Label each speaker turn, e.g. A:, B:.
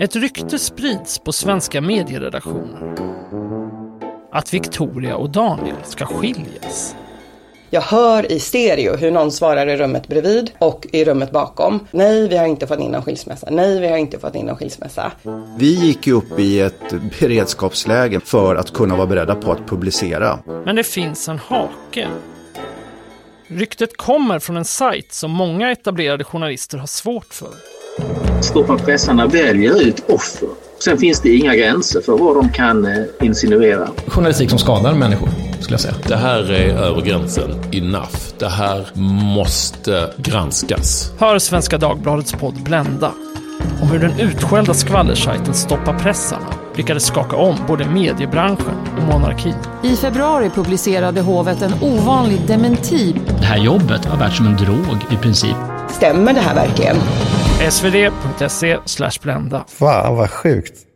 A: Ett rykte sprids på svenska medieredaktioner att Victoria och Daniel ska skiljas.
B: Jag hör i stereo hur någon svarar i rummet bredvid och i rummet bakom. Nej, vi har inte fått in någon skilsmässa. Nej, vi har inte fått in någon skilsmässa.
C: Vi gick ju upp i ett beredskapsläge för att kunna vara beredda på att publicera.
A: Men det finns en hake. Ryktet kommer från en sajt som många etablerade journalister har svårt för.
D: Stoffanpressarna väljer ut offer. Sen finns det inga gränser för vad de kan eh, insinuera.
E: Journalistik som skadar människor, skulle jag säga.
F: Det här är över gränsen. Enough. Det här måste granskas.
A: Hör Svenska Dagbladets podd Blända om hur den utskällda skvallersajten Stoppa pressarna lyckades skaka om både mediebranschen och monarkin.
G: I februari publicerade hovet en ovanlig dementi.
H: Det här jobbet har varit som en drog i princip.
B: Stämmer det här verkligen?
A: svd.se E blända.
I: Fan vad sjukt.